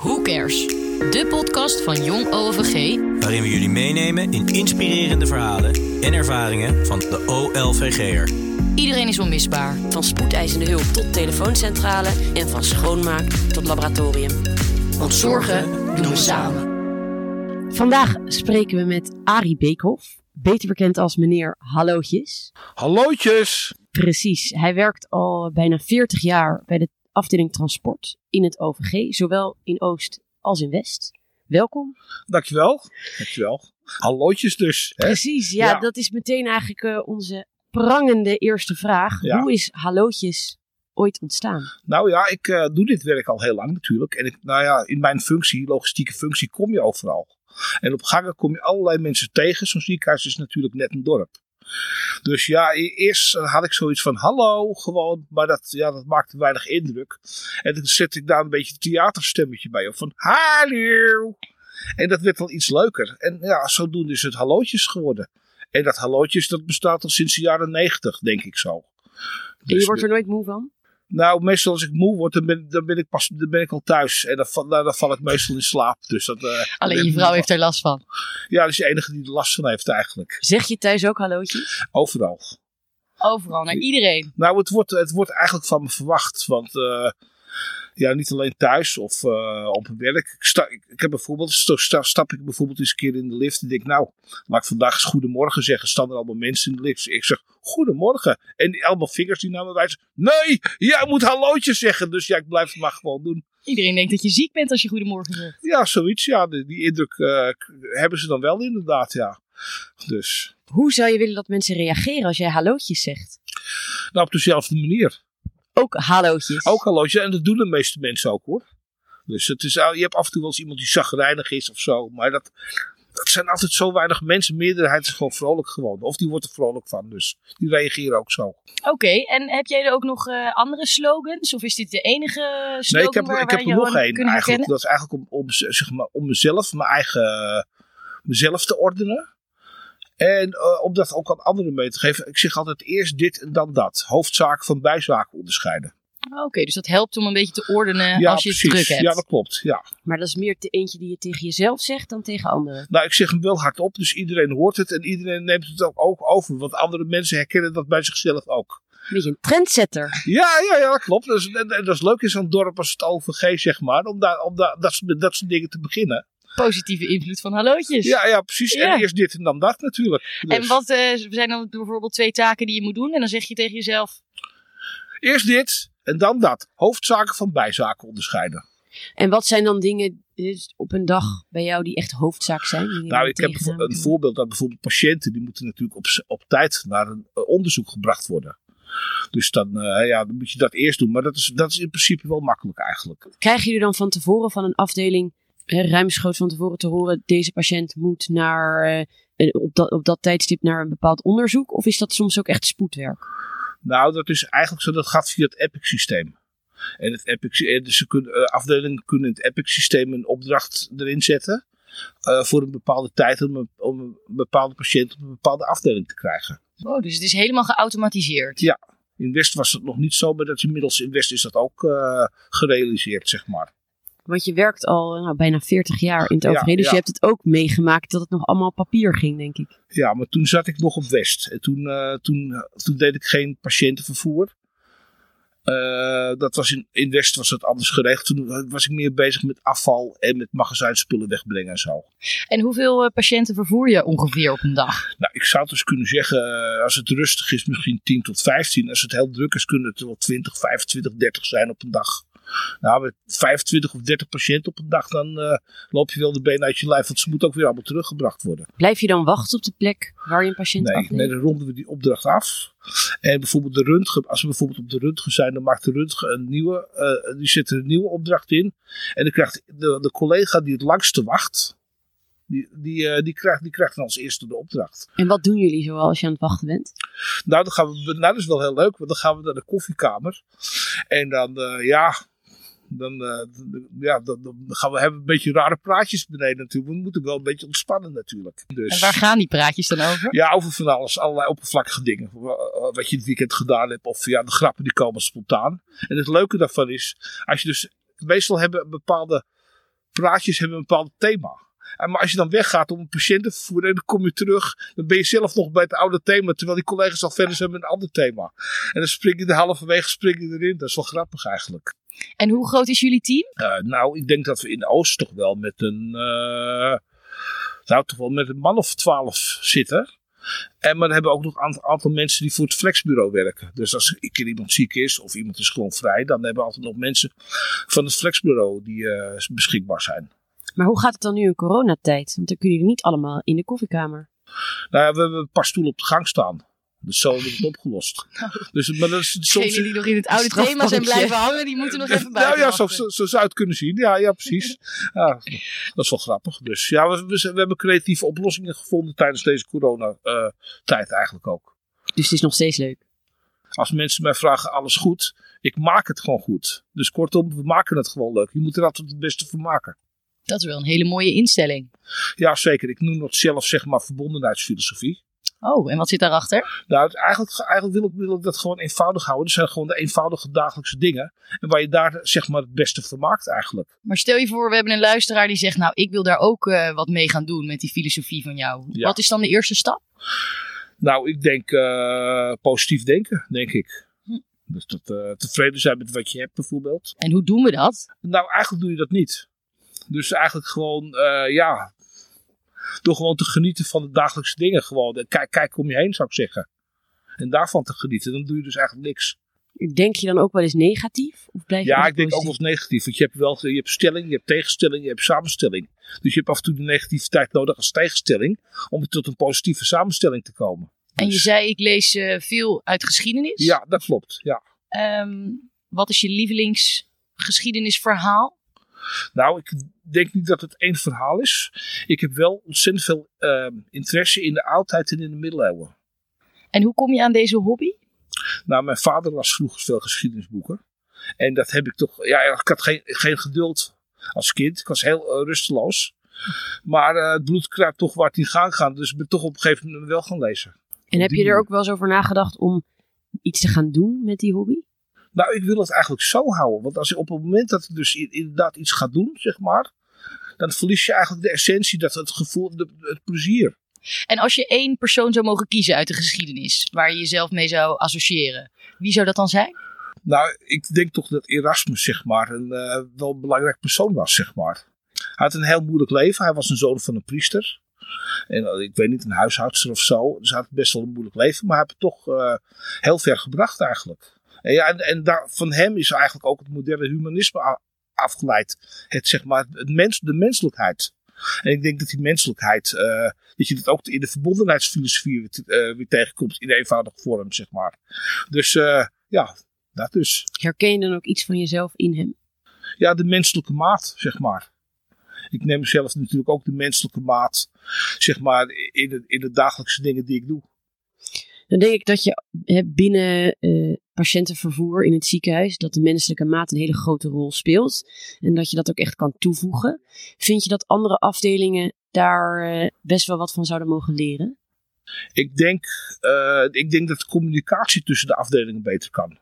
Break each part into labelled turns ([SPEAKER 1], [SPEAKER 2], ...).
[SPEAKER 1] Who Cares? De podcast van Jong OVG
[SPEAKER 2] waarin we jullie meenemen in inspirerende verhalen en ervaringen van de OLVG'er.
[SPEAKER 1] Iedereen is onmisbaar.
[SPEAKER 3] Van spoedeisende hulp tot telefooncentrale en van schoonmaak tot laboratorium.
[SPEAKER 1] Want zorgen doen we samen.
[SPEAKER 3] Vandaag spreken we met Arie Beekhoff, beter bekend als meneer Hallootjes.
[SPEAKER 4] Hallootjes!
[SPEAKER 3] Precies, hij werkt al bijna 40 jaar bij de afdeling transport in het OVG, zowel in Oost als in West. Welkom.
[SPEAKER 4] Dankjewel. Dankjewel. Hallootjes dus. Hè?
[SPEAKER 3] Precies, ja,
[SPEAKER 4] Ja.
[SPEAKER 3] dat is meteen eigenlijk eh, onze prangende eerste vraag.
[SPEAKER 4] Ja.
[SPEAKER 3] Hoe is Hallootjes ooit ontstaan?
[SPEAKER 4] Nou ja, ik eh, doe dit werk al heel lang natuurlijk. En ik, nou ja, in mijn functie, logistieke functie, kom je overal. En op gangen kom je allerlei mensen tegen. Zo'n ziekenhuis is natuurlijk net een dorp. Dus ja, e- eerst had ik zoiets van hallo, gewoon. Maar dat, ja, dat maakte weinig indruk. En toen zette ik daar een beetje een theaterstemmetje bij op. Van hallo. En dat werd wel iets leuker. En ja, zodoende is het hallootjes geworden. En dat hallootjes, dat bestaat al sinds de jaren negentig, denk ik zo.
[SPEAKER 3] En je
[SPEAKER 4] Dus
[SPEAKER 3] wordt er nooit moe van?
[SPEAKER 4] nou, meestal als ik moe word, dan ben, dan ben, ik, pas, dan ben ik al thuis. En dan, val- nou, dan val ik meestal in slaap. Dus dat, eh,
[SPEAKER 1] Alleen je vrouw heeft er last van.
[SPEAKER 4] Ja, dat is de enige die er last van heeft eigenlijk.
[SPEAKER 3] Zeg je thuis ook hallootjes?
[SPEAKER 4] Overal.
[SPEAKER 1] Overal, naar iedereen.
[SPEAKER 4] Nou, het wordt, het wordt eigenlijk van me verwacht. Want eh, ja, niet alleen thuis of eh, op het werk. Ik, sta, ik, ik heb bijvoorbeeld, sta- sta- stap ik bijvoorbeeld eens een keer in de lift en denk, nou, laat ik vandaag eens goedemorgen zeggen. Staan er allemaal mensen in de lift. Ik zeg, goedemorgen. En die, allemaal vingers die naar me wijzen. Nee, jij moet hallootje zeggen. Dus ja, ik blijf het maar gewoon doen.
[SPEAKER 1] Iedereen denkt dat je ziek bent als je goedemorgen zegt.
[SPEAKER 4] Ja, zoiets. Ja, die, die indruk eh, k- hebben ze dan wel inderdaad, ja. Dus,
[SPEAKER 3] Hoe zou je willen dat mensen reageren als jij hallootjes zegt?
[SPEAKER 4] nou, op dezelfde manier.
[SPEAKER 3] Ook hallootjes.
[SPEAKER 4] Ook hallootje. En dat doen de meeste mensen ook, hoor. Dus het is, al- je hebt af en toe wel eens iemand die zagrijnig is of zo. Maar dat, dat zijn altijd zo weinig mensen. Meerderheid is gewoon vrolijk gewoon. Of die wordt er vrolijk van. Dus die reageren ook zo.
[SPEAKER 1] Oké, en heb jij er ook nog eh, andere slogans? Of is dit de enige slogan
[SPEAKER 4] Nee, ik heb,
[SPEAKER 1] waar,
[SPEAKER 4] ik
[SPEAKER 1] wij
[SPEAKER 4] heb er
[SPEAKER 1] je
[SPEAKER 4] nog
[SPEAKER 1] aan
[SPEAKER 4] één
[SPEAKER 1] kunnen
[SPEAKER 4] eigenlijk.
[SPEAKER 1] herkennen?
[SPEAKER 4] Dat is eigenlijk om, om, zeg maar, om mezelf, mijn eigen, eh, mezelf te ordenen. En eh, om dat ook aan anderen mee te geven. Ik zeg altijd eerst dit en dan dat. Hoofdzaak van bijzaak onderscheiden.
[SPEAKER 1] Oké, dus dat helpt om een beetje te ordenen als je het druk hebt.
[SPEAKER 4] Ja, dat klopt. Ja.
[SPEAKER 3] Maar dat is meer te eentje die je tegen jezelf zegt dan tegen anderen.
[SPEAKER 4] Nou, ik zeg hem wel hardop, dus iedereen hoort het en iedereen neemt het ook, ook over. Want andere mensen herkennen dat bij zichzelf ook.
[SPEAKER 3] Een beetje een trendsetter.
[SPEAKER 4] Ja, ja, ja, klopt. Dat is, en, en dat is leuk in zo'n dorp als het OVG, zeg maar. Om, daar, om daar, dat, soort- dat soort dingen te beginnen.
[SPEAKER 1] Positieve invloed van hallootjes.
[SPEAKER 4] Ja, ja, precies.
[SPEAKER 1] Ja.
[SPEAKER 4] En eerst dit en dan dat natuurlijk. Dus-
[SPEAKER 1] En wat eh, zijn dan bijvoorbeeld twee taken die je moet doen? En dan zeg je tegen jezelf,
[SPEAKER 4] Eerst dit en dan dat. Hoofdzaken van bijzaken onderscheiden.
[SPEAKER 3] En wat zijn dan dingen dus op een dag bij jou die echt hoofdzaak zijn? die je
[SPEAKER 4] nou,
[SPEAKER 3] dan
[SPEAKER 4] ik heb
[SPEAKER 3] tegenaan
[SPEAKER 4] een
[SPEAKER 3] komt?
[SPEAKER 4] voorbeeld dat bijvoorbeeld patiënten, die moeten natuurlijk op, s- op tijd naar een eh, onderzoek gebracht worden. Dus dan, eh, ja, dan moet je dat eerst doen. Maar dat is, dat is in principe wel makkelijk eigenlijk.
[SPEAKER 3] Krijgen jullie dan van tevoren van een afdeling eh, ruimschoots van tevoren te horen... deze patiënt moet naar, eh, eh, op, dat, op dat tijdstip naar een bepaald onderzoek? Of is dat soms ook echt spoedwerk?
[SPEAKER 4] Nou, dat is eigenlijk zo, dat gaat via het EPIC-systeem. En het EPIC, sy- eh, dus ze kunnen, eh, afdelingen kunnen in het EPIC-systeem een opdracht erin zetten. eh, voor een bepaalde tijd om een, om een bepaalde patiënt op een bepaalde afdeling te krijgen.
[SPEAKER 1] oh, dus het is helemaal geautomatiseerd.
[SPEAKER 4] Ja. In West was dat nog niet zo, maar dat is inmiddels in West is dat ook eh, gerealiseerd, zeg maar.
[SPEAKER 3] Want je werkt al eh, nou, bijna 40 jaar in het
[SPEAKER 4] Ja,
[SPEAKER 3] OVG. dus
[SPEAKER 4] ja.
[SPEAKER 3] je hebt het ook meegemaakt dat het nog allemaal op papier ging, denk ik.
[SPEAKER 4] Ja, maar toen zat ik nog op West. En toen, eh, toen, toen deed ik geen patiëntenvervoer. Eh, dat was in, in West was dat anders geregeld. Toen eh, was ik meer bezig met afval en met magazijnspullen wegbrengen en zo.
[SPEAKER 1] En hoeveel eh, patiënten vervoer je ongeveer op een dag?
[SPEAKER 4] Nou, ik zou dus kunnen zeggen, eh, als het rustig is, misschien 10 tot 15. Als het heel druk is, kunnen het wel 20, 25, 30 zijn op een dag. Nou, met 25 of 30 patiënten op een dag, dan eh, loop je wel de benen uit je lijf. Want ze moeten ook weer allemaal teruggebracht worden.
[SPEAKER 3] Blijf je dan wachten op de plek waar je een patiënt
[SPEAKER 4] Nee,
[SPEAKER 3] afneemt?
[SPEAKER 4] nee, dan ronden we die opdracht af. En bijvoorbeeld de röntgen, als we bijvoorbeeld op de röntgen zijn, dan maakt de röntgen een nieuwe, eh, die zet er een nieuwe opdracht in. En dan krijgt de, de collega die het langste wacht, die, die, eh, die, krijgt, die krijgt dan als eerste de opdracht.
[SPEAKER 3] En wat doen jullie zoal als je aan het wachten bent?
[SPEAKER 4] Nou, dan gaan we, nou, dat is wel heel leuk, want dan gaan we naar de koffiekamer. En dan, eh, ja, dan, eh, d- ja dan, dan gaan we hebben we een beetje rare praatjes beneden natuurlijk. We moeten wel een beetje ontspannen natuurlijk. Dus,
[SPEAKER 1] En waar gaan die praatjes dan over?
[SPEAKER 4] ja, over van alles, allerlei oppervlakkige dingen. Wa- Wat je het weekend gedaan hebt, of ja, de grappen die komen spontaan. En het leuke daarvan is, als je dus, meestal hebben bepaalde praatjes hebben een bepaald thema. En maar als je dan weggaat om een patiënt te vervoeren en dan kom je terug, dan ben je zelf nog bij het oude thema, terwijl die collega's al verder zijn met een ander thema. En dan spring je er halverwege spring je erin. Dat is wel grappig eigenlijk.
[SPEAKER 1] En hoe groot is jullie team?
[SPEAKER 4] Eh, nou, ik denk dat we in Oost toch wel met een. eh, nou, toch wel met een man of twaalf zitten. En maar dan hebben we ook nog een aantal, aantal mensen die voor het flexbureau werken. Dus als een keer iemand ziek is of iemand is gewoon vrij, dan hebben we altijd nog mensen van het flexbureau die eh, beschikbaar zijn.
[SPEAKER 3] Maar hoe gaat het dan nu in coronatijd? Want dan kunnen jullie niet allemaal in de koffiekamer.
[SPEAKER 4] Nou ja, we hebben een paar stoelen op de gang staan. Dus zo hebben we het opgelost. Dus, maar dat is soms.
[SPEAKER 1] Degenen die nog in het oude
[SPEAKER 3] Strafbankje.
[SPEAKER 1] thema zijn blijven hangen, die moeten nog even buiten
[SPEAKER 4] Nou ja, zo,
[SPEAKER 1] wachten.
[SPEAKER 4] zo, zo zou je het kunnen zien. Ja, ja precies. Ja, dat is wel grappig. Dus ja, we, we, we hebben creatieve oplossingen gevonden tijdens deze coronatijd eigenlijk ook.
[SPEAKER 3] Dus het is nog steeds leuk.
[SPEAKER 4] Als mensen mij vragen, alles goed? Ik maak het gewoon goed. Dus kortom, we maken het gewoon leuk. Je moet er altijd het beste van maken.
[SPEAKER 1] Dat is wel een hele mooie instelling.
[SPEAKER 4] Ja, zeker. Ik noem dat zelf, zeg maar, verbondenheidsfilosofie.
[SPEAKER 1] Oh, en wat zit daarachter?
[SPEAKER 4] Nou, het- eigenlijk, eigenlijk wil, ik, wil ik dat gewoon eenvoudig houden. Dat zijn gewoon de eenvoudige dagelijkse dingen. En waar je daar, zeg maar, het beste van maakt eigenlijk.
[SPEAKER 1] Maar stel je voor, we hebben een luisteraar die zegt, nou, ik wil daar ook eh, wat mee gaan doen met die filosofie van jou.
[SPEAKER 4] Ja.
[SPEAKER 1] Wat is dan de eerste stap?
[SPEAKER 4] Nou, ik denk eh, positief denken, denk ik.
[SPEAKER 1] Hm.
[SPEAKER 4] Dus dat, eh, tevreden zijn met wat je hebt bijvoorbeeld.
[SPEAKER 1] En hoe doen we dat?
[SPEAKER 4] Nou, eigenlijk doe je dat niet. Dus eigenlijk gewoon, eh, ja, door gewoon te genieten van de dagelijkse dingen. Gewoon, kijk, kijk om je heen zou ik zeggen. En daarvan te genieten, dan doe je dus eigenlijk niks.
[SPEAKER 3] Denk je dan ook wel eens negatief? Of blijf je
[SPEAKER 4] Ja,
[SPEAKER 3] altijd
[SPEAKER 4] ik denk ook wel
[SPEAKER 3] positief?
[SPEAKER 4] eens negatief. Want je hebt wel je hebt stelling, je hebt tegenstelling, je hebt samenstelling. Dus je hebt af en toe de negativiteit nodig als tegenstelling. om tot een positieve samenstelling te komen.
[SPEAKER 1] En je
[SPEAKER 4] Dus-
[SPEAKER 1] zei, ik lees eh, veel uit geschiedenis.
[SPEAKER 4] Ja, dat klopt. Ja.
[SPEAKER 1] Ehm, wat is je lievelingsgeschiedenisverhaal?
[SPEAKER 4] Nou, ik denk niet dat het één verhaal is. Ik heb wel ontzettend veel ehm, interesse in de oudheid en in de middeleeuwen.
[SPEAKER 1] En hoe kom je aan deze hobby?
[SPEAKER 4] Nou, mijn vader las vroeger veel geschiedenisboeken. En dat heb ik toch... Ja, ik had geen, geen geduld als kind. Ik was heel eh, rusteloos. Maar eh, het bloed kruipt toch waar het in gang gaat. Dus ik ben toch op een gegeven moment wel gaan lezen.
[SPEAKER 3] En heb je
[SPEAKER 4] die-
[SPEAKER 3] er ook wel eens over nagedacht om iets te gaan doen met die hobby?
[SPEAKER 4] Nou, ik wil het eigenlijk zo houden. Want als je op het moment dat ik dus i- inderdaad iets ga doen, zeg maar... Dan verlies je eigenlijk de essentie, dat het gevoel, de- het plezier.
[SPEAKER 1] En als je één persoon zou mogen kiezen uit de geschiedenis, waar je jezelf mee zou associëren, wie zou dat dan zijn?
[SPEAKER 4] Nou, ik denk toch dat Erasmus, zeg maar, een eh, wel een belangrijk persoon was, zeg maar. Hij had een heel moeilijk leven. Hij was een zoon van een priester. En eh, ik weet niet, een huishoudster of zo. Dus hij had best wel een moeilijk leven. Maar hij heeft het toch eh, heel ver gebracht eigenlijk. En, ja, en, en daar, van hem is eigenlijk ook het moderne humanisme a- afgeleid. Het, zeg maar, het mens, de menselijkheid. En ik denk dat die menselijkheid, eh, dat je dat ook in de verbondenheidsfilosofie weer, te- eh, weer tegenkomt. In eenvoudige vorm, zeg maar. Dus eh, ja, dat dus.
[SPEAKER 3] Herken je dan ook iets van jezelf in hem?
[SPEAKER 4] Ja, de menselijke maat, zeg maar. Ik neem zelf natuurlijk ook de menselijke maat, zeg maar, in de, in de dagelijkse dingen die ik doe.
[SPEAKER 3] Dan denk ik dat je hè, binnen eh, patiëntenvervoer in het ziekenhuis, dat de menselijke maat een hele grote rol speelt. En dat je dat ook echt kan toevoegen. Vind je dat andere afdelingen daar eh, best wel wat van zouden mogen leren?
[SPEAKER 4] Ik denk, eh, ik denk dat de communicatie tussen de afdelingen beter kan.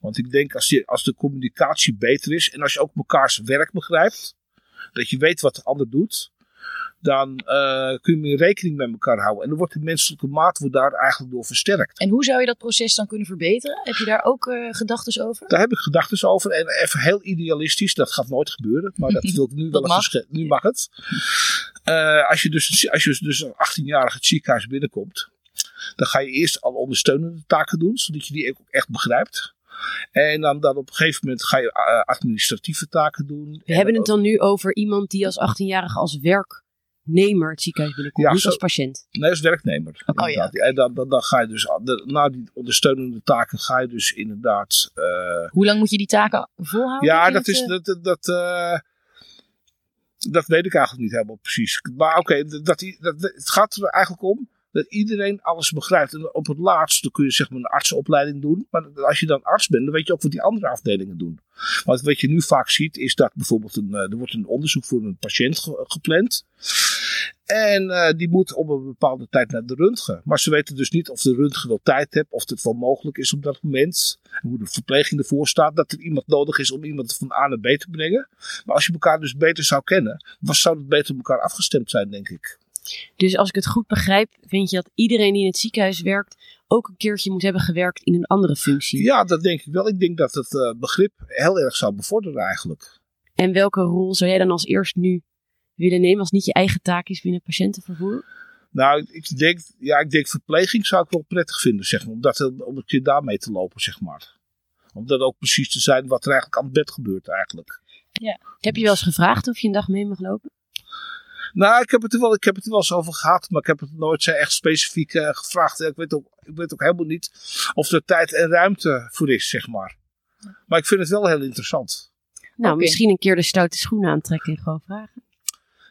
[SPEAKER 4] Want ik denk als, je, als de communicatie beter is en als je ook mekaars werk begrijpt, dat je weet wat de ander doet, dan eh, kun je meer rekening met elkaar houden. En dan wordt de menselijke maat wordt daar eigenlijk door versterkt.
[SPEAKER 1] En hoe zou je dat proces dan kunnen verbeteren? Heb je daar ook eh gedachten over?
[SPEAKER 4] Daar heb ik gedachten over. En even heel idealistisch, dat gaat nooit gebeuren. Maar dat wil ik nu wel
[SPEAKER 1] Dat
[SPEAKER 4] even
[SPEAKER 1] mag.
[SPEAKER 4] sche- Nu mag het. Eh, als je dus, als je dus een 18-jarige het ziekenhuis binnenkomt, dan ga je eerst alle ondersteunende taken doen, zodat je die ook echt begrijpt. En dan, dan op een gegeven moment ga je eh, administratieve taken doen.
[SPEAKER 3] We hebben het dan nu over iemand die als 18-jarige als werknemer het ziekenhuis binnenkomt,
[SPEAKER 4] Ja,
[SPEAKER 3] niet
[SPEAKER 4] zo-
[SPEAKER 3] als patiënt.
[SPEAKER 4] Nee, als werknemer.
[SPEAKER 1] Oh, ja.
[SPEAKER 4] inderdaad. En dan, dan, dan ga je dus, aan de- na die ondersteunende taken, ga je dus inderdaad eh,
[SPEAKER 1] Hoe lang moet je die taken volhouden?
[SPEAKER 4] Ja,
[SPEAKER 1] Kun je
[SPEAKER 4] dat is.
[SPEAKER 1] eh,
[SPEAKER 4] Dat, dat, dat, eh, dat weet ik eigenlijk niet helemaal precies. Maar oké, dat, dat, dat- het gaat er eigenlijk om dat iedereen alles begrijpt. En op het laatst dan kun je zeg maar een artsenopleiding doen. Maar als je dan arts bent, dan weet je ook wat die andere afdelingen doen. Want wat je nu vaak ziet, is dat bijvoorbeeld een, eh, er wordt een onderzoek voor een patiënt ge- gepland. En eh, die moet om een bepaalde tijd naar de röntgen. Maar ze weten dus niet of de röntgen wel tijd hebt, of het wel mogelijk is op dat moment. Hoe de verpleging ervoor staat, dat er iemand nodig is om iemand van A naar B te brengen. Maar als je elkaar dus beter zou kennen, was, zou het beter op elkaar afgestemd zijn, denk ik.
[SPEAKER 3] Dus als ik het goed begrijp, vind je dat iedereen die in het ziekenhuis werkt ook een keertje moet hebben gewerkt in een andere functie.
[SPEAKER 4] Ja, dat denk ik wel. Ik denk dat het eh, begrip heel erg zou bevorderen eigenlijk.
[SPEAKER 3] En welke rol zou jij dan als eerst nu willen nemen als het niet je eigen taak is binnen patiëntenvervoer?
[SPEAKER 4] Nou, ik denk, ja, ik denk verpleging zou ik wel prettig vinden, zeg maar. Om, dat, om een keer daarmee te lopen, zeg maar. Om dat ook precies te zijn wat er eigenlijk aan het bed gebeurt, eigenlijk.
[SPEAKER 3] Heb je wel eens gevraagd of je een dag mee mag lopen?
[SPEAKER 4] Nou, ik heb het er wel, ik heb het er wel eens over gehad, maar ik heb het nooit zo echt specifiek eh, gevraagd. Ik weet, ook, ik weet ook helemaal niet of er tijd en ruimte voor is, zeg maar. Maar ik vind het wel heel interessant.
[SPEAKER 3] Nou,
[SPEAKER 1] Oké.
[SPEAKER 3] misschien een keer de stoute schoenen aantrekken en gewoon vragen.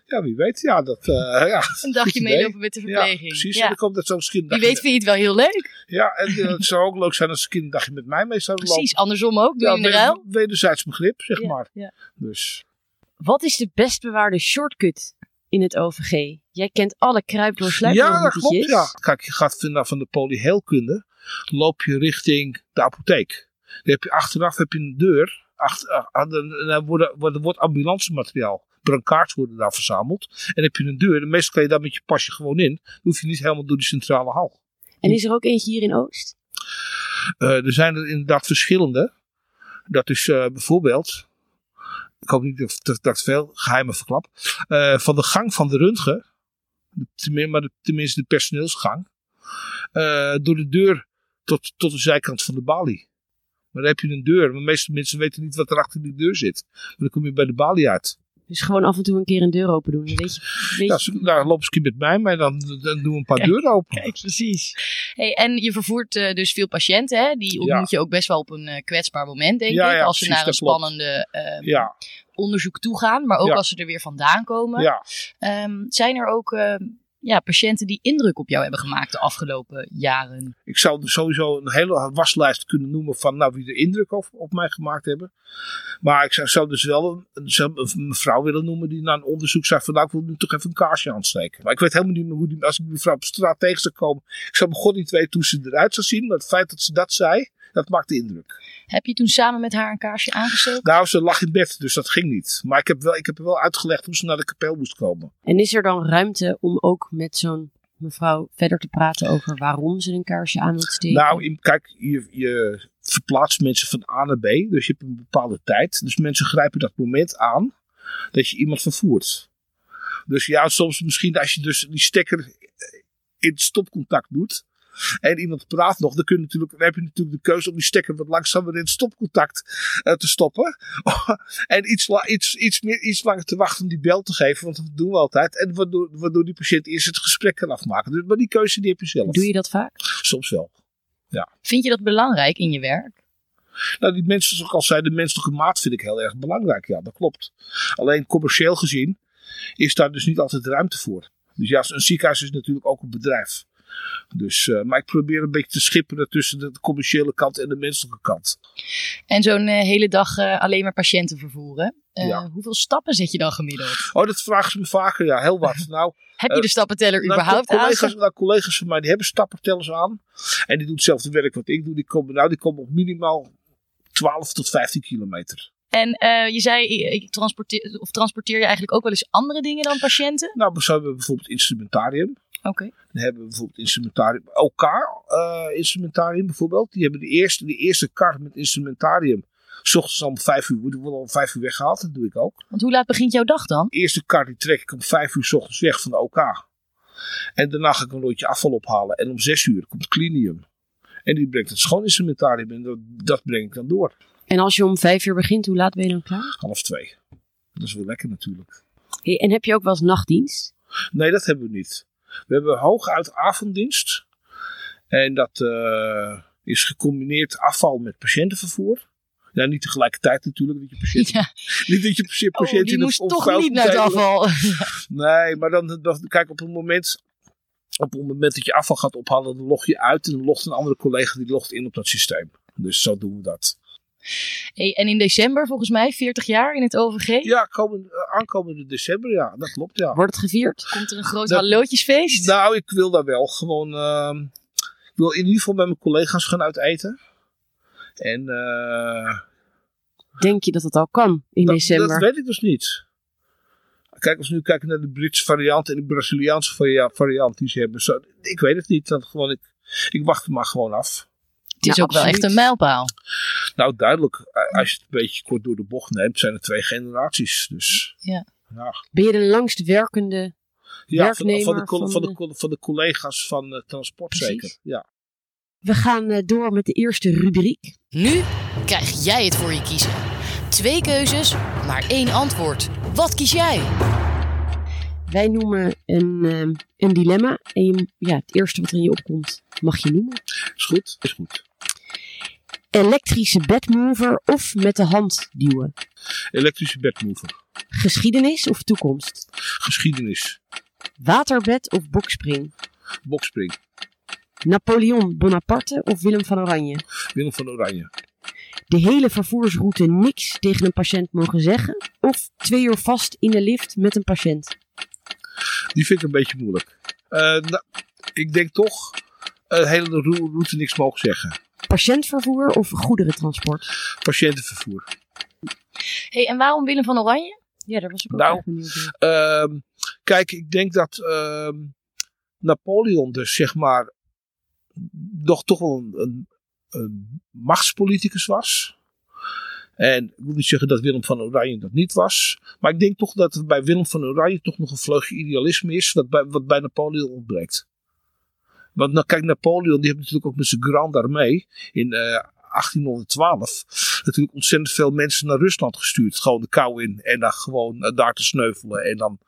[SPEAKER 4] Ja, wie weet. Ja, dat, eh, ja.
[SPEAKER 1] Een dagje
[SPEAKER 4] Goed idee.
[SPEAKER 1] meelopen met de
[SPEAKER 4] ja
[SPEAKER 1] verpleging.
[SPEAKER 4] precies.
[SPEAKER 1] Ja.
[SPEAKER 4] En dan komt dat zo misschien...
[SPEAKER 1] Wie weet vind je het wel heel leuk.
[SPEAKER 4] Ja, en eh, het zou ook leuk zijn als ik een dagje met mij mee zou lopen.
[SPEAKER 1] Precies, andersom ook. Doe je in de
[SPEAKER 4] wed-
[SPEAKER 1] ruil.
[SPEAKER 4] wederzijds begrip, zeg
[SPEAKER 1] Ja,
[SPEAKER 4] maar.
[SPEAKER 1] ja.
[SPEAKER 4] Dus
[SPEAKER 3] Wat is de best bewaarde shortcut in het OVG? Jij kent alle kruip door
[SPEAKER 4] ja, dat klopt. Ja. Kijk, je gaat vanaf van de polyheelkunde, loop je richting de apotheek. Dan heb je achteraf heb je een deur, achter, ah, dan dan worden, worden, wordt ambulancemateriaal, brancards worden daar verzameld. En dan heb je een deur, en meestal kan je daar met je pasje gewoon in. Dan hoef je niet helemaal door die centrale hal.
[SPEAKER 3] En is er ook eentje hier in Oost?
[SPEAKER 4] Eh, er zijn er inderdaad verschillende. Dat is eh, bijvoorbeeld, ik hoop niet dat- dat, dat ik veel geheimen verklap, eh, van de gang van de röntgen, tenmin- maar de- tenminste de personeelsgang, eh, door de deur tot, tot de zijkant van de balie. Maar dan heb je een deur, maar de meeste mensen weten niet wat er achter die deur zit. Maar dan kom je bij de balie uit.
[SPEAKER 3] Dus gewoon af en toe een keer een deur open doen. Dan weet je, weet
[SPEAKER 4] Ja,
[SPEAKER 3] je-
[SPEAKER 4] zo- nou, loop eens een keer met mij, maar dan, dan doen we een paar deuren open.
[SPEAKER 1] Kijk, precies. Hey, en je vervoert eh, dus veel patiënten. Hè? Die ontmoet je ook best wel op een eh, kwetsbaar moment, denk
[SPEAKER 4] Ja,
[SPEAKER 1] ik.
[SPEAKER 4] ja,
[SPEAKER 1] als ze
[SPEAKER 4] precies,
[SPEAKER 1] naar een
[SPEAKER 4] dat klopt.
[SPEAKER 1] spannende eh,
[SPEAKER 4] Ja,
[SPEAKER 1] onderzoek toegaan. Maar ook
[SPEAKER 4] Ja.
[SPEAKER 1] als ze er weer vandaan komen.
[SPEAKER 4] ja.
[SPEAKER 1] Ehm, zijn er ook eh, ja, patiënten die indruk op jou hebben gemaakt de afgelopen jaren?
[SPEAKER 4] Ik zou er sowieso een hele waslijst kunnen noemen van nou, wie de indruk op, op mij gemaakt hebben. Maar ik zou, zou dus wel een, een- zou een mevrouw willen noemen die na een onderzoek zei van nou, ik wil nu toch even een kaarsje aansteken. Maar ik weet helemaal niet meer hoe die, als ik die mevrouw op straat tegen zou komen. Ik zou mijn god niet weten hoe ze eruit zou zien, maar het feit dat ze dat zei, dat maakte indruk.
[SPEAKER 1] Heb je toen samen met haar een kaarsje aangestoken?
[SPEAKER 4] Nou, ze lag in bed, dus dat ging niet. Maar ik heb, wel, ik heb er wel uitgelegd hoe ze naar de kapel moest komen.
[SPEAKER 3] En is er dan ruimte om ook met zo'n mevrouw verder te praten over waarom ze een kaarsje aan wil steken?
[SPEAKER 4] Nou, in- kijk, je, je verplaatst mensen van A naar B, dus je hebt een bepaalde tijd. Dus mensen grijpen dat moment aan dat je iemand vervoert. Dus ja, soms misschien als je dus die stekker eh, in het stopcontact doet en iemand praat nog, dan, kun je natuurlijk, dan heb je natuurlijk de keuze om die stekker wat langzamer in het stopcontact eh, te stoppen. en iets, la- iets, iets, meer, iets langer te wachten om die bel te geven, want dat doen we altijd. En waardoor, waardoor die patiënt eerst het gesprek kan afmaken. Dus, maar die keuze die heb je zelf.
[SPEAKER 3] Doe je dat vaak?
[SPEAKER 4] Soms wel.
[SPEAKER 1] Vind je dat belangrijk in je werk?
[SPEAKER 4] Nou, die mensen, zoals ik al zei, de menselijke maat vind ik heel erg belangrijk. Ja, dat klopt. Alleen commercieel gezien is daar dus niet altijd ruimte voor. Dus ja, een ziekenhuis is natuurlijk ook een bedrijf. Dus, eh, maar ik probeer een beetje te schipperen tussen de commerciële kant en de menselijke kant.
[SPEAKER 1] En zo'n eh, hele dag eh, alleen maar patiënten vervoeren. Eh,
[SPEAKER 4] Ja.
[SPEAKER 1] Hoeveel stappen zet je dan gemiddeld?
[SPEAKER 4] Oh, dat vragen ze me vaker, ja, heel wat. Nou,
[SPEAKER 1] Heb je
[SPEAKER 4] Eh,
[SPEAKER 1] de stappenteller
[SPEAKER 4] nou,
[SPEAKER 1] überhaupt aan?
[SPEAKER 4] collega's, nou, collega's van mij die hebben stappertellers aan. En die doen hetzelfde werk wat ik doe. Die komen, nou, die komen op minimaal 12 tot 15 kilometer.
[SPEAKER 1] En eh, je zei, ik transporteer, of transporteer je eigenlijk ook wel eens andere dingen dan patiënten?
[SPEAKER 4] Nou, zo hebben we bijvoorbeeld instrumentarium.
[SPEAKER 1] Oké.
[SPEAKER 4] Dan hebben we bijvoorbeeld instrumentarium. elkaar eh, instrumentarium bijvoorbeeld. Die hebben de eerste, de eerste kar met instrumentarium. 's ochtends om vijf uur. Die worden om vijf uur weggehaald. Dat doe ik ook.
[SPEAKER 1] Want hoe laat begint jouw dag dan?
[SPEAKER 4] De eerste kar die trek ik om vijf uur 's ochtends weg van de OK. En daarna ga ik een rondje afval ophalen. En om zes uur komt Clinium. En die brengt het schoon instrumentarium. En dat, dat breng ik dan door.
[SPEAKER 3] En als je om vijf uur begint, hoe laat ben je dan klaar?
[SPEAKER 4] Half twee. Dat is wel lekker natuurlijk.
[SPEAKER 3] Hey, en heb je ook wel eens nachtdienst?
[SPEAKER 4] Nee, dat hebben we niet. We hebben hooguit avonddienst. En dat eh, is gecombineerd afval met patiëntenvervoer. Ja, niet tegelijkertijd natuurlijk. Dat je patiënt,
[SPEAKER 1] Ja.
[SPEAKER 4] Niet dat je patiënt,
[SPEAKER 1] Oh,
[SPEAKER 4] patiënt
[SPEAKER 1] die
[SPEAKER 4] in een
[SPEAKER 1] moest toch
[SPEAKER 4] onveilig
[SPEAKER 1] niet naar het
[SPEAKER 4] hotel-
[SPEAKER 1] afval.
[SPEAKER 4] Nee, maar dan, dan- kijk, op het moment... Op het moment dat je afval gaat ophalen, dan log je uit. En dan logt een andere collega, die logt in op dat systeem. Dus zo doen we dat.
[SPEAKER 1] Hey, en in december volgens mij, 40 jaar in het OVG.
[SPEAKER 4] Ja, komend, eh, aankomende december, ja, dat klopt, ja.
[SPEAKER 3] Wordt het gevierd?
[SPEAKER 1] Komt er een groot
[SPEAKER 4] Dat-
[SPEAKER 1] hallootjesfeest?
[SPEAKER 4] Nou, ik wil daar wel gewoon. ehm, ik wil in ieder geval met mijn collega's gaan uiteten. En eh,
[SPEAKER 3] Denk je dat dat al kan in
[SPEAKER 4] dat,
[SPEAKER 3] december?
[SPEAKER 4] dat weet ik dus niet. Kijk, als we nu kijken naar de Britse variant en de Braziliaanse varia- variant die ze hebben. Zo, ik weet het niet. Dat gewoon, ik, ik wacht het maar gewoon af.
[SPEAKER 1] het is
[SPEAKER 3] Ja,
[SPEAKER 1] ook wel echt
[SPEAKER 3] Nou, absoluut.
[SPEAKER 1] een mijlpaal.
[SPEAKER 4] Nou, duidelijk, eh, als je het een beetje kort door de bocht neemt, zijn er twee generaties. Dus.
[SPEAKER 1] Ja.
[SPEAKER 4] ja.
[SPEAKER 3] Ben je de langst werkende?
[SPEAKER 4] Ja, van, de- van, de,
[SPEAKER 3] Werknemer
[SPEAKER 4] coll-
[SPEAKER 3] van
[SPEAKER 4] van, de,
[SPEAKER 3] de-
[SPEAKER 4] coll- van de collega's van eh, transport
[SPEAKER 3] Precies.
[SPEAKER 4] zeker. Ja.
[SPEAKER 3] We gaan eh, door met de eerste rubriek.
[SPEAKER 1] Nu krijg jij het voor je kiezen. Twee keuzes, maar één antwoord. Wat kies jij?
[SPEAKER 3] Wij noemen een, ehm, een dilemma. En je, ja, het eerste wat er in je opkomt, mag je noemen.
[SPEAKER 4] Is goed? Is goed.
[SPEAKER 3] Elektrische bedmover of met de hand duwen?
[SPEAKER 4] Elektrische bedmover.
[SPEAKER 3] Geschiedenis of toekomst?
[SPEAKER 4] Geschiedenis.
[SPEAKER 3] Waterbed of bokspring?
[SPEAKER 4] Bokspring.
[SPEAKER 3] Napoleon Bonaparte of Willem van Oranje?
[SPEAKER 4] Willem van Oranje.
[SPEAKER 3] De hele vervoersroute niks tegen een patiënt mogen zeggen? Of twee uur vast in de lift met een patiënt?
[SPEAKER 4] Die vind ik een beetje moeilijk. Eh, nou, ik denk toch een hele ro- route niks mogen zeggen.
[SPEAKER 3] Patiëntvervoer of goederentransport?
[SPEAKER 4] Patiëntenvervoer.
[SPEAKER 1] Hey, en waarom Willem van Oranje?
[SPEAKER 3] Ja, daar was ik
[SPEAKER 4] ook Nou, erg
[SPEAKER 3] benieuwd
[SPEAKER 4] Ehm, kijk, ik denk dat ehm, Napoleon dus zeg maar nog toch wel een, een, een machtspoliticus was. En ik wil niet zeggen dat Willem van Oranje dat niet was. Maar ik denk toch dat er bij Willem van Oranje toch nog een vleugje idealisme is. Wat bij, wat bij Napoleon ontbreekt. Want nou, kijk, Napoleon die heeft natuurlijk ook met zijn Grande Armée in eh, 1812 natuurlijk ontzettend veel mensen naar Rusland gestuurd. Gewoon de kou in en dan gewoon eh, daar te sneuvelen. En dan,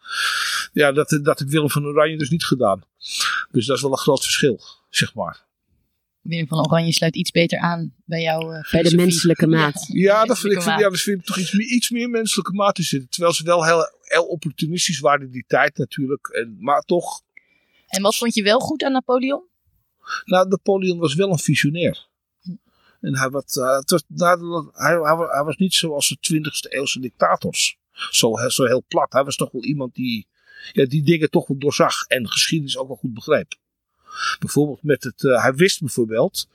[SPEAKER 4] ja, dat, dat heeft Willem van Oranje dus niet gedaan. Dus dat is wel een groot verschil, zeg maar.
[SPEAKER 1] Willem van Oranje sluit iets beter aan bij jouw eh,
[SPEAKER 3] Bij de
[SPEAKER 1] filosofie.
[SPEAKER 3] menselijke maat.
[SPEAKER 4] Ja, dat vind ik, vind,
[SPEAKER 1] maat.
[SPEAKER 4] ja, dat vind ik toch iets meer, iets meer menselijke maat in zitten. Terwijl ze wel heel, heel opportunistisch waren in die tijd natuurlijk. En, maar toch,
[SPEAKER 1] En wat vond je wel goed aan Napoleon?
[SPEAKER 4] nou, Napoleon was wel een visionair. En hij, wat, eh, het was, nou, hij, hij, wa- hij was niet zoals de 20e eeuwse dictators. Zo, he- zo heel plat. Hij was toch wel iemand die, ja, die dingen toch wel doorzag en geschiedenis ook wel goed begreep. Bijvoorbeeld met het, eh, hij wist bijvoorbeeld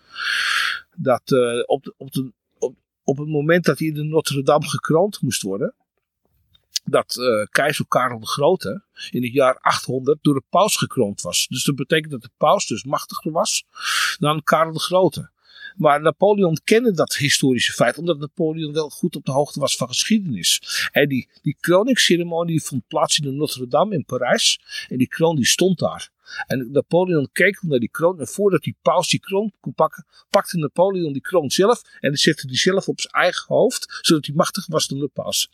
[SPEAKER 4] dat eh, op, de- op, de, op, op het moment dat hij in de Notre Dame gekroond moest worden, dat eh, keizer Karel de Grote in het jaar 800 door de paus gekroond was. Dus dat betekent dat de paus dus machtiger was dan Karel de Grote. Maar Napoleon kende dat historische feit, omdat Napoleon wel goed op de hoogte was van geschiedenis. En die, die kroningsceremonie vond plaats in de Notre Dame in Parijs. En die kroon die stond daar. En Napoleon keek naar die kroon. En voordat die paus die kroon kon pakken, pakte Napoleon die kroon zelf. En die zette die zelf op zijn eigen hoofd, zodat hij machtiger was dan de paus.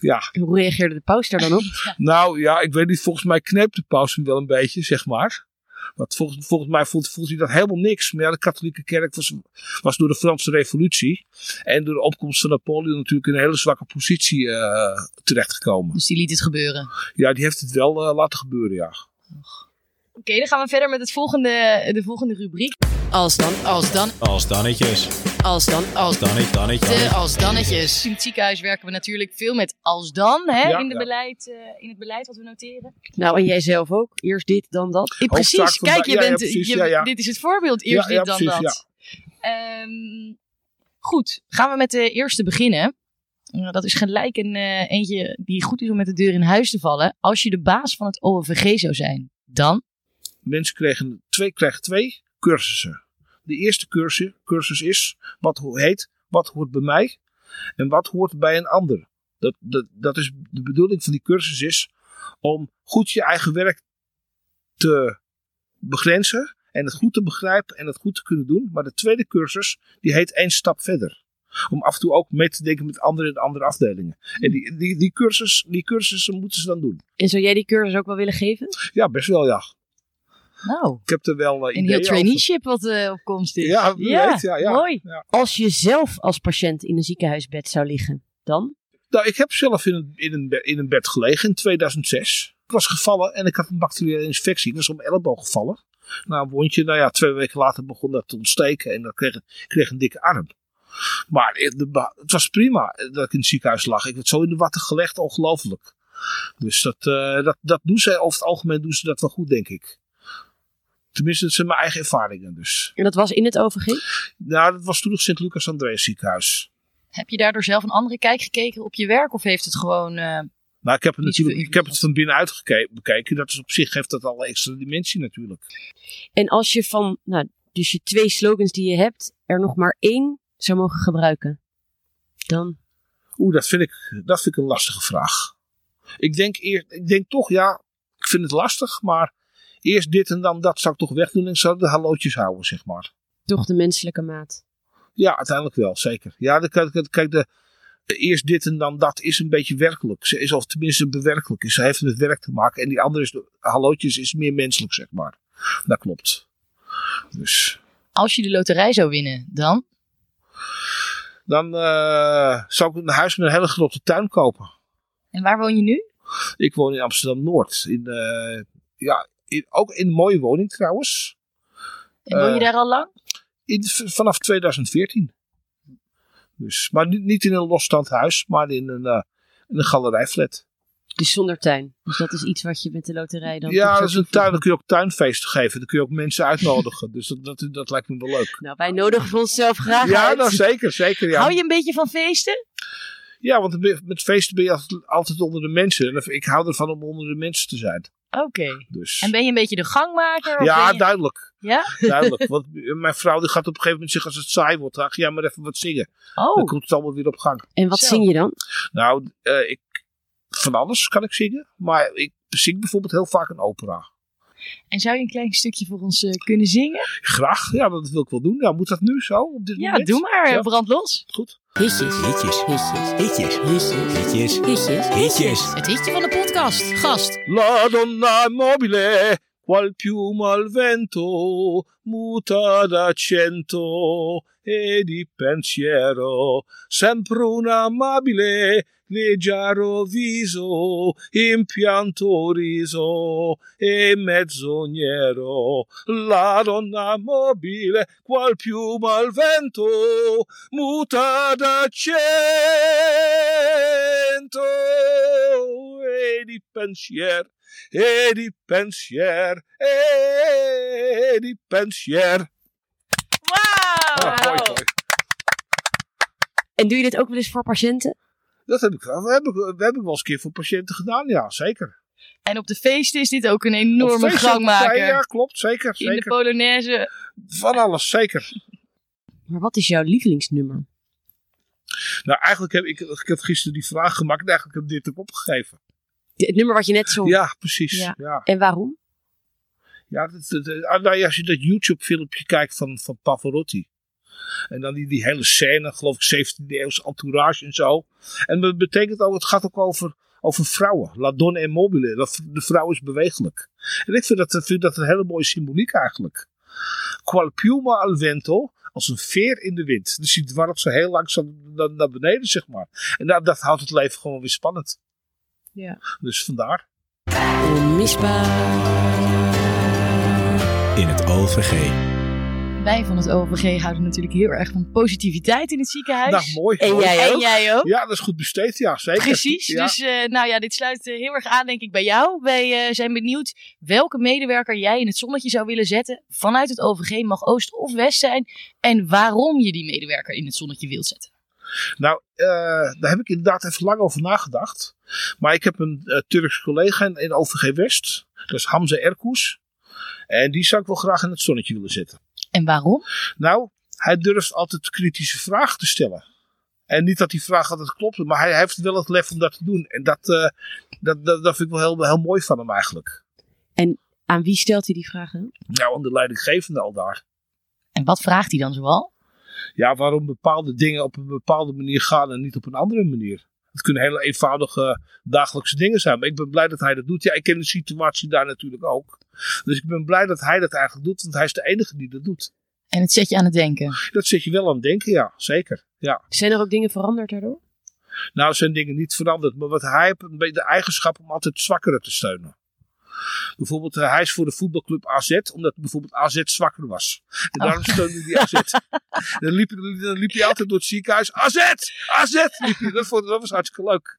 [SPEAKER 4] Ja,
[SPEAKER 3] Hoe reageerde de paus daar dan op?
[SPEAKER 4] nou ja, ik weet niet. Volgens mij kneept de paus hem wel een beetje, zeg maar. Want volgens, volgens mij voelt, voelt hij dat helemaal niks. Maar ja, de katholieke kerk was, was door de Franse revolutie en door de opkomst van Napoleon natuurlijk in een hele zwakke positie eh, terechtgekomen.
[SPEAKER 1] Dus die liet het gebeuren.
[SPEAKER 4] Ja, die heeft het wel eh, laten gebeuren, ja.
[SPEAKER 1] Oké, dan gaan we verder met het volgende, de volgende rubriek. Als dan, als dan,
[SPEAKER 2] Als dannetjes.
[SPEAKER 1] als dan, als
[SPEAKER 2] Dannet, dannetje.
[SPEAKER 1] De als dannetjes. In het ziekenhuis werken we natuurlijk veel met als dan hè,
[SPEAKER 4] Ja,
[SPEAKER 1] in, de
[SPEAKER 4] ja.
[SPEAKER 1] beleid, eh, in het beleid wat we noteren.
[SPEAKER 3] Nou, en jij zelf ook. Eerst dit, dan dat.
[SPEAKER 1] Eh, precies,
[SPEAKER 4] Hoofdzaak van
[SPEAKER 1] kijk,
[SPEAKER 4] de-
[SPEAKER 1] je
[SPEAKER 4] ja, ja,
[SPEAKER 1] bent,
[SPEAKER 4] precies,
[SPEAKER 1] je-
[SPEAKER 4] ja, ja.
[SPEAKER 1] dit is het voorbeeld. Eerst
[SPEAKER 4] Ja, ja,
[SPEAKER 1] dit, dan
[SPEAKER 4] precies,
[SPEAKER 1] dat. Ehm, goed, gaan we met de eerste beginnen. Nou, Dat is gelijk een eh, eentje die goed is om met de deur in huis te vallen. Als je de baas van het OVG zou zijn, dan?
[SPEAKER 4] Mensen kregen twee, krijgen twee cursussen. De eerste cursus, cursus is wat ho- heet wat hoort bij mij en wat hoort bij een ander. Dat, dat, dat is de bedoeling van die cursus is om goed je eigen werk te begrenzen en het goed te begrijpen en het goed te kunnen doen. Maar de tweede cursus die heet één stap verder. Om af en toe ook mee te denken met anderen in andere afdelingen. En die, die, die, cursus, die cursussen moeten ze dan doen.
[SPEAKER 3] En zou jij die cursus ook wel willen geven?
[SPEAKER 4] Ja, best wel ja.
[SPEAKER 1] Nou,
[SPEAKER 4] Ik heb er wel eh,
[SPEAKER 1] een
[SPEAKER 4] ideeën
[SPEAKER 1] heel
[SPEAKER 4] over.
[SPEAKER 1] traineeship wat eh, op komst is.
[SPEAKER 4] Ja, wie weet, ja, ja.
[SPEAKER 1] mooi.
[SPEAKER 3] Als je zelf als patiënt in een ziekenhuisbed zou liggen, dan?
[SPEAKER 4] Nou, ik heb zelf in een, in een, be- in een bed gelegen in 2006. Ik was gevallen en ik had een bacteriële infectie. Ik was om mijn elleboog gevallen. Na een wondje, nou ja, twee weken later begon dat te ontsteken en dan kreeg ik kreeg een dikke arm. Maar eh, de ba- het was prima dat ik in het ziekenhuis lag. Ik werd zo in de watten gelegd, ongelooflijk. Dus dat, eh, dat, dat doen ze over het algemeen doen ze dat wel goed, denk ik. Tenminste, dat zijn mijn eigen ervaringen dus.
[SPEAKER 3] En dat was in het OVG?
[SPEAKER 4] Nou, dat was toen nog Sint-Lucas-Andreas ziekenhuis.
[SPEAKER 1] Heb je daardoor zelf een andere kijk gekeken op je werk? Of heeft het gewoon... eh,
[SPEAKER 4] Maar Nou, ik heb het,
[SPEAKER 1] Niet
[SPEAKER 4] natuurlijk,
[SPEAKER 1] veel
[SPEAKER 4] ik heb het van binnenuit geke- bekeken. Dat is op zich geeft dat al een extra dimensie natuurlijk.
[SPEAKER 3] En als je van, nou, dus je twee slogans die je hebt, er nog maar één zou mogen gebruiken, dan?
[SPEAKER 4] Oeh, dat vind ik, dat vind ik een lastige vraag. Ik denk, eerst, ik denk toch, ja, ik vind het lastig. Maar eerst dit en dan dat zou ik toch wegdoen. En ik zou de hallootjes houden, zeg maar.
[SPEAKER 3] Toch de menselijke maat.
[SPEAKER 4] Ja, uiteindelijk wel, zeker. Ja, de, kijk, kijk de, eerst dit en dan dat is een beetje werkelijk. Ze is, of tenminste bewerkelijk. is. Ze heeft met werk te maken. En die andere is, de, hallootjes is meer menselijk, zeg maar. Dat klopt. Dus...
[SPEAKER 1] als je de loterij zou winnen, dan?
[SPEAKER 4] Dan eh, zou ik een huis met een hele grote tuin kopen.
[SPEAKER 1] En waar woon je nu?
[SPEAKER 4] Ik woon in Amsterdam Noord. In, eh, ja, in- ook in een mooie woning trouwens.
[SPEAKER 1] En woon je
[SPEAKER 4] Eh,
[SPEAKER 1] daar al lang?
[SPEAKER 4] In, v- vanaf 2014. Dus, maar niet, niet in een losstand huis, maar in een, eh in een galerijflat.
[SPEAKER 3] Dus zonder tuin. Dus dat is iets wat je met de loterij dan... toch
[SPEAKER 4] Ja,
[SPEAKER 3] zou
[SPEAKER 4] dat is een
[SPEAKER 3] toevoegen.
[SPEAKER 4] tuin. Dan kun je ook tuinfeesten geven. Dan kun je ook mensen uitnodigen. dus dat, dat, dat lijkt me wel leuk.
[SPEAKER 3] Nou, wij nodigen voor onszelf graag
[SPEAKER 4] Ja,
[SPEAKER 3] uit.
[SPEAKER 4] nou, zeker, zeker. Ja.
[SPEAKER 1] Hou je een beetje van feesten?
[SPEAKER 4] ja, want dan ben je- met feesten ben je altijd, altijd onder de mensen. En ik hou ervan om onder de mensen te zijn.
[SPEAKER 1] Oké.
[SPEAKER 4] Dus.
[SPEAKER 1] En ben je een beetje de gangmaker? Of
[SPEAKER 4] ja,
[SPEAKER 1] ben je-
[SPEAKER 4] duidelijk.
[SPEAKER 1] ja?
[SPEAKER 4] Duidelijk, want mijn vrouw die gaat op een gegeven moment zeggen als het saai wordt, dan ga jij maar even wat zingen. Dan
[SPEAKER 1] Oh,
[SPEAKER 4] komt het allemaal weer op gang.
[SPEAKER 3] En wat
[SPEAKER 1] Zo.
[SPEAKER 3] zing je dan?
[SPEAKER 4] Nou, eh, ik, van alles kan ik zingen, maar ik zing bijvoorbeeld heel vaak een opera.
[SPEAKER 1] en zou je een klein stukje voor ons eh, kunnen zingen?
[SPEAKER 4] Graag, ja, dat wil ik wel doen. Nou, moet dat nu zo? Op dit
[SPEAKER 1] Ja,
[SPEAKER 4] moment?
[SPEAKER 1] doe maar.
[SPEAKER 4] Ja. eh,
[SPEAKER 1] Brand los.
[SPEAKER 4] Goed.
[SPEAKER 5] Hitjes,
[SPEAKER 2] Hitjes,
[SPEAKER 5] hitjes,
[SPEAKER 2] hitjes,
[SPEAKER 5] hitjes,
[SPEAKER 2] hitjes,
[SPEAKER 5] hitjes,
[SPEAKER 2] hitjes.
[SPEAKER 1] Het hitje van de podcast. Gast.
[SPEAKER 4] La donna mobile, qual piuma al vento, muta da cento e di pensiero, sempre una amabile, leggero viso, impianto riso e mezzognero. La donna mobile, qual piuma al vento, muta da cento e di pensier, e di pensier, e di pensier.
[SPEAKER 1] Oh, Wauw.
[SPEAKER 4] Ah, mooi, mooi.
[SPEAKER 3] En doe je dit ook wel eens voor patiënten?
[SPEAKER 4] Dat heb ik, wel- dat heb ik, dat heb ik wel eens een keer voor patiënten gedaan, ja, zeker.
[SPEAKER 1] En op de feesten is dit ook een enorme
[SPEAKER 4] Op feesten,
[SPEAKER 1] gangmaker.
[SPEAKER 4] Ja, klopt, zeker,
[SPEAKER 1] In de
[SPEAKER 4] zeker.
[SPEAKER 1] Polonaise.
[SPEAKER 4] Van alles, zeker.
[SPEAKER 3] Maar wat is jouw lievelingsnummer?
[SPEAKER 4] Nou, eigenlijk heb ik, ik heb gisteren die vraag gemaakt en eigenlijk heb ik dit ook opgegeven.
[SPEAKER 3] De- Het nummer wat je net
[SPEAKER 1] Oh.
[SPEAKER 3] zong.
[SPEAKER 4] Ja, precies.
[SPEAKER 3] Ja.
[SPEAKER 4] Ja. Ja.
[SPEAKER 3] En waarom?
[SPEAKER 4] dat, dat- dat- ah, nou ja, als je dat YouTube-filmpje kijkt van, van Pavarotti. En dan die, die hele scène, geloof ik, 17e eeuwse entourage en zo. En dat betekent ook, het gaat ook over, over vrouwen. La donna e mobile. Dat, de vrouw is bewegelijk. En ik vind dat, vind dat een hele mooie symboliek eigenlijk. Qual piuma al vento. Als een veer in de wind. Dus die dwarrelt ze heel langzaam naar, naar beneden, zeg maar. En dat, dat houdt het leven gewoon weer spannend.
[SPEAKER 3] Ja.
[SPEAKER 4] Dus vandaar.
[SPEAKER 3] Onmisbaar.
[SPEAKER 2] In het OVG.
[SPEAKER 1] Wij van het OVG houden natuurlijk heel erg van positiviteit in het ziekenhuis.
[SPEAKER 4] Nou, mooi.
[SPEAKER 3] En
[SPEAKER 4] mooi.
[SPEAKER 3] jij
[SPEAKER 1] en
[SPEAKER 3] ook?
[SPEAKER 1] jij ook.
[SPEAKER 4] Ja, dat is goed besteed, ja, zeker.
[SPEAKER 1] Oh. Precies.
[SPEAKER 4] Ja.
[SPEAKER 1] Dus eh, nou ja, dit sluit eh, heel erg aan, denk ik, bij jou. Wij eh, zijn benieuwd welke medewerker jij in het zonnetje zou willen zetten. Vanuit het OVG mag Oost of West zijn. En waarom je die medewerker in het zonnetje wilt zetten.
[SPEAKER 4] Nou, eh, daar heb ik inderdaad even lang over nagedacht. Maar ik heb een eh, Turks collega in, in OVG West, dat is Hamza Erkoes. En die zou ik wel graag in het zonnetje willen zetten.
[SPEAKER 1] En waarom?
[SPEAKER 4] Nou, hij durft altijd kritische vragen te stellen. En niet dat die vraag altijd klopt, maar hij heeft wel het lef om dat te doen. En dat, eh, dat, dat, dat vind ik wel heel, heel mooi van hem eigenlijk.
[SPEAKER 3] Aan wie stelt hij die vragen?
[SPEAKER 4] Nou, aan de leidinggevende al daar.
[SPEAKER 1] En wat vraagt hij dan zoal?
[SPEAKER 4] ja, waarom bepaalde dingen op een bepaalde manier gaan en niet op een andere manier. Het kunnen hele eenvoudige dagelijkse dingen zijn. Maar ik ben blij dat hij dat doet. Ja, ik ken de situatie daar natuurlijk ook. Dus ik ben blij dat hij dat eigenlijk doet, want hij is de enige die dat doet.
[SPEAKER 1] En het zet je aan het denken.
[SPEAKER 4] Dat zit je wel aan het denken, ja, zeker. Ja.
[SPEAKER 3] Zijn er ook dingen veranderd daardoor?
[SPEAKER 4] Nou zijn dingen niet veranderd, maar wat hij heeft, een beetje de eigenschap om altijd zwakkeren te steunen. Bijvoorbeeld, eh, hij is voor de voetbalclub AZ, omdat bijvoorbeeld AZ zwakker was. En
[SPEAKER 1] Oh.
[SPEAKER 4] daarom steunde hij AZ. dan, liep, dan liep hij altijd door het ziekenhuis. AZ! AZ! Liep hij. Dat, vond, dat was hartstikke leuk.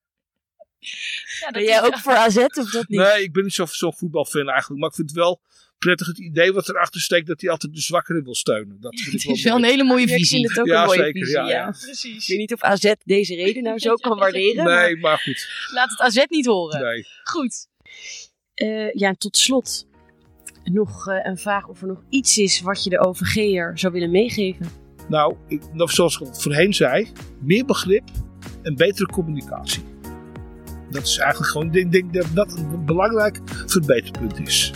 [SPEAKER 1] Ja, dat
[SPEAKER 3] Ben
[SPEAKER 1] is-
[SPEAKER 3] jij ook voor AZ of dat niet?
[SPEAKER 4] Nee, ik ben niet zo- zo'n voetbalfan eigenlijk. Maar ik vind het wel prettig het idee wat erachter steekt dat hij altijd de zwakkere wil steunen. Dat vind ik
[SPEAKER 1] Het
[SPEAKER 4] wel
[SPEAKER 1] is wel
[SPEAKER 4] mooi.
[SPEAKER 1] een hele mooie
[SPEAKER 3] Ja, ik vind
[SPEAKER 1] visie.
[SPEAKER 3] het ook
[SPEAKER 4] Ja,
[SPEAKER 3] een mooie
[SPEAKER 4] zeker,
[SPEAKER 3] visie,
[SPEAKER 4] ja, ja.
[SPEAKER 3] Ik
[SPEAKER 1] Precies.
[SPEAKER 3] weet niet of AZ deze reden nou zo kan waarderen. maar-
[SPEAKER 4] Nee, maar goed.
[SPEAKER 1] Laat het AZ niet horen.
[SPEAKER 4] Nee.
[SPEAKER 1] Goed.
[SPEAKER 3] Eh, ja, en tot slot nog eh, een vraag of er nog iets is wat je de OVG'er zou willen meegeven.
[SPEAKER 4] Nou, ik, nou, zoals ik al voorheen zei, meer begrip en betere communicatie. Dat is eigenlijk gewoon, ik denk dat dat een belangrijk verbeterpunt is.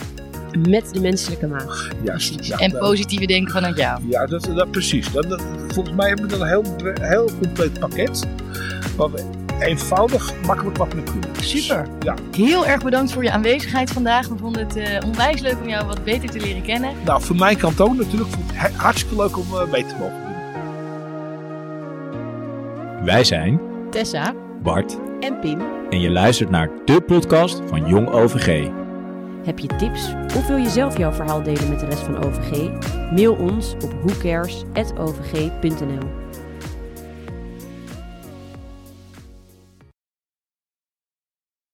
[SPEAKER 3] Met de menselijke maag.
[SPEAKER 4] Juist. Ja,
[SPEAKER 1] en
[SPEAKER 4] nou,
[SPEAKER 1] positieve denken vanuit jou.
[SPEAKER 4] Ja, dat, dat precies. Dat, dat- volgens mij hebben we dan een heel, bre- heel compleet pakket. Waar we eenvoudig, makkelijk wat mee kunnen.
[SPEAKER 1] Super.
[SPEAKER 4] Ja,
[SPEAKER 1] Heel erg bedankt voor je aanwezigheid vandaag. We vonden het eh, onwijs leuk om jou wat beter te leren kennen.
[SPEAKER 4] nou, voor mijn kant ook natuurlijk. Vond ik he- hartstikke leuk om eh, mee te mogen doen.
[SPEAKER 2] Wij zijn
[SPEAKER 1] Tessa.
[SPEAKER 2] Bart
[SPEAKER 5] en Pim.
[SPEAKER 2] en je luistert naar de podcast van Jong OVG.
[SPEAKER 5] Heb je tips of wil je zelf jouw verhaal delen met de rest van OVG? Mail ons op whocares.ovg.nl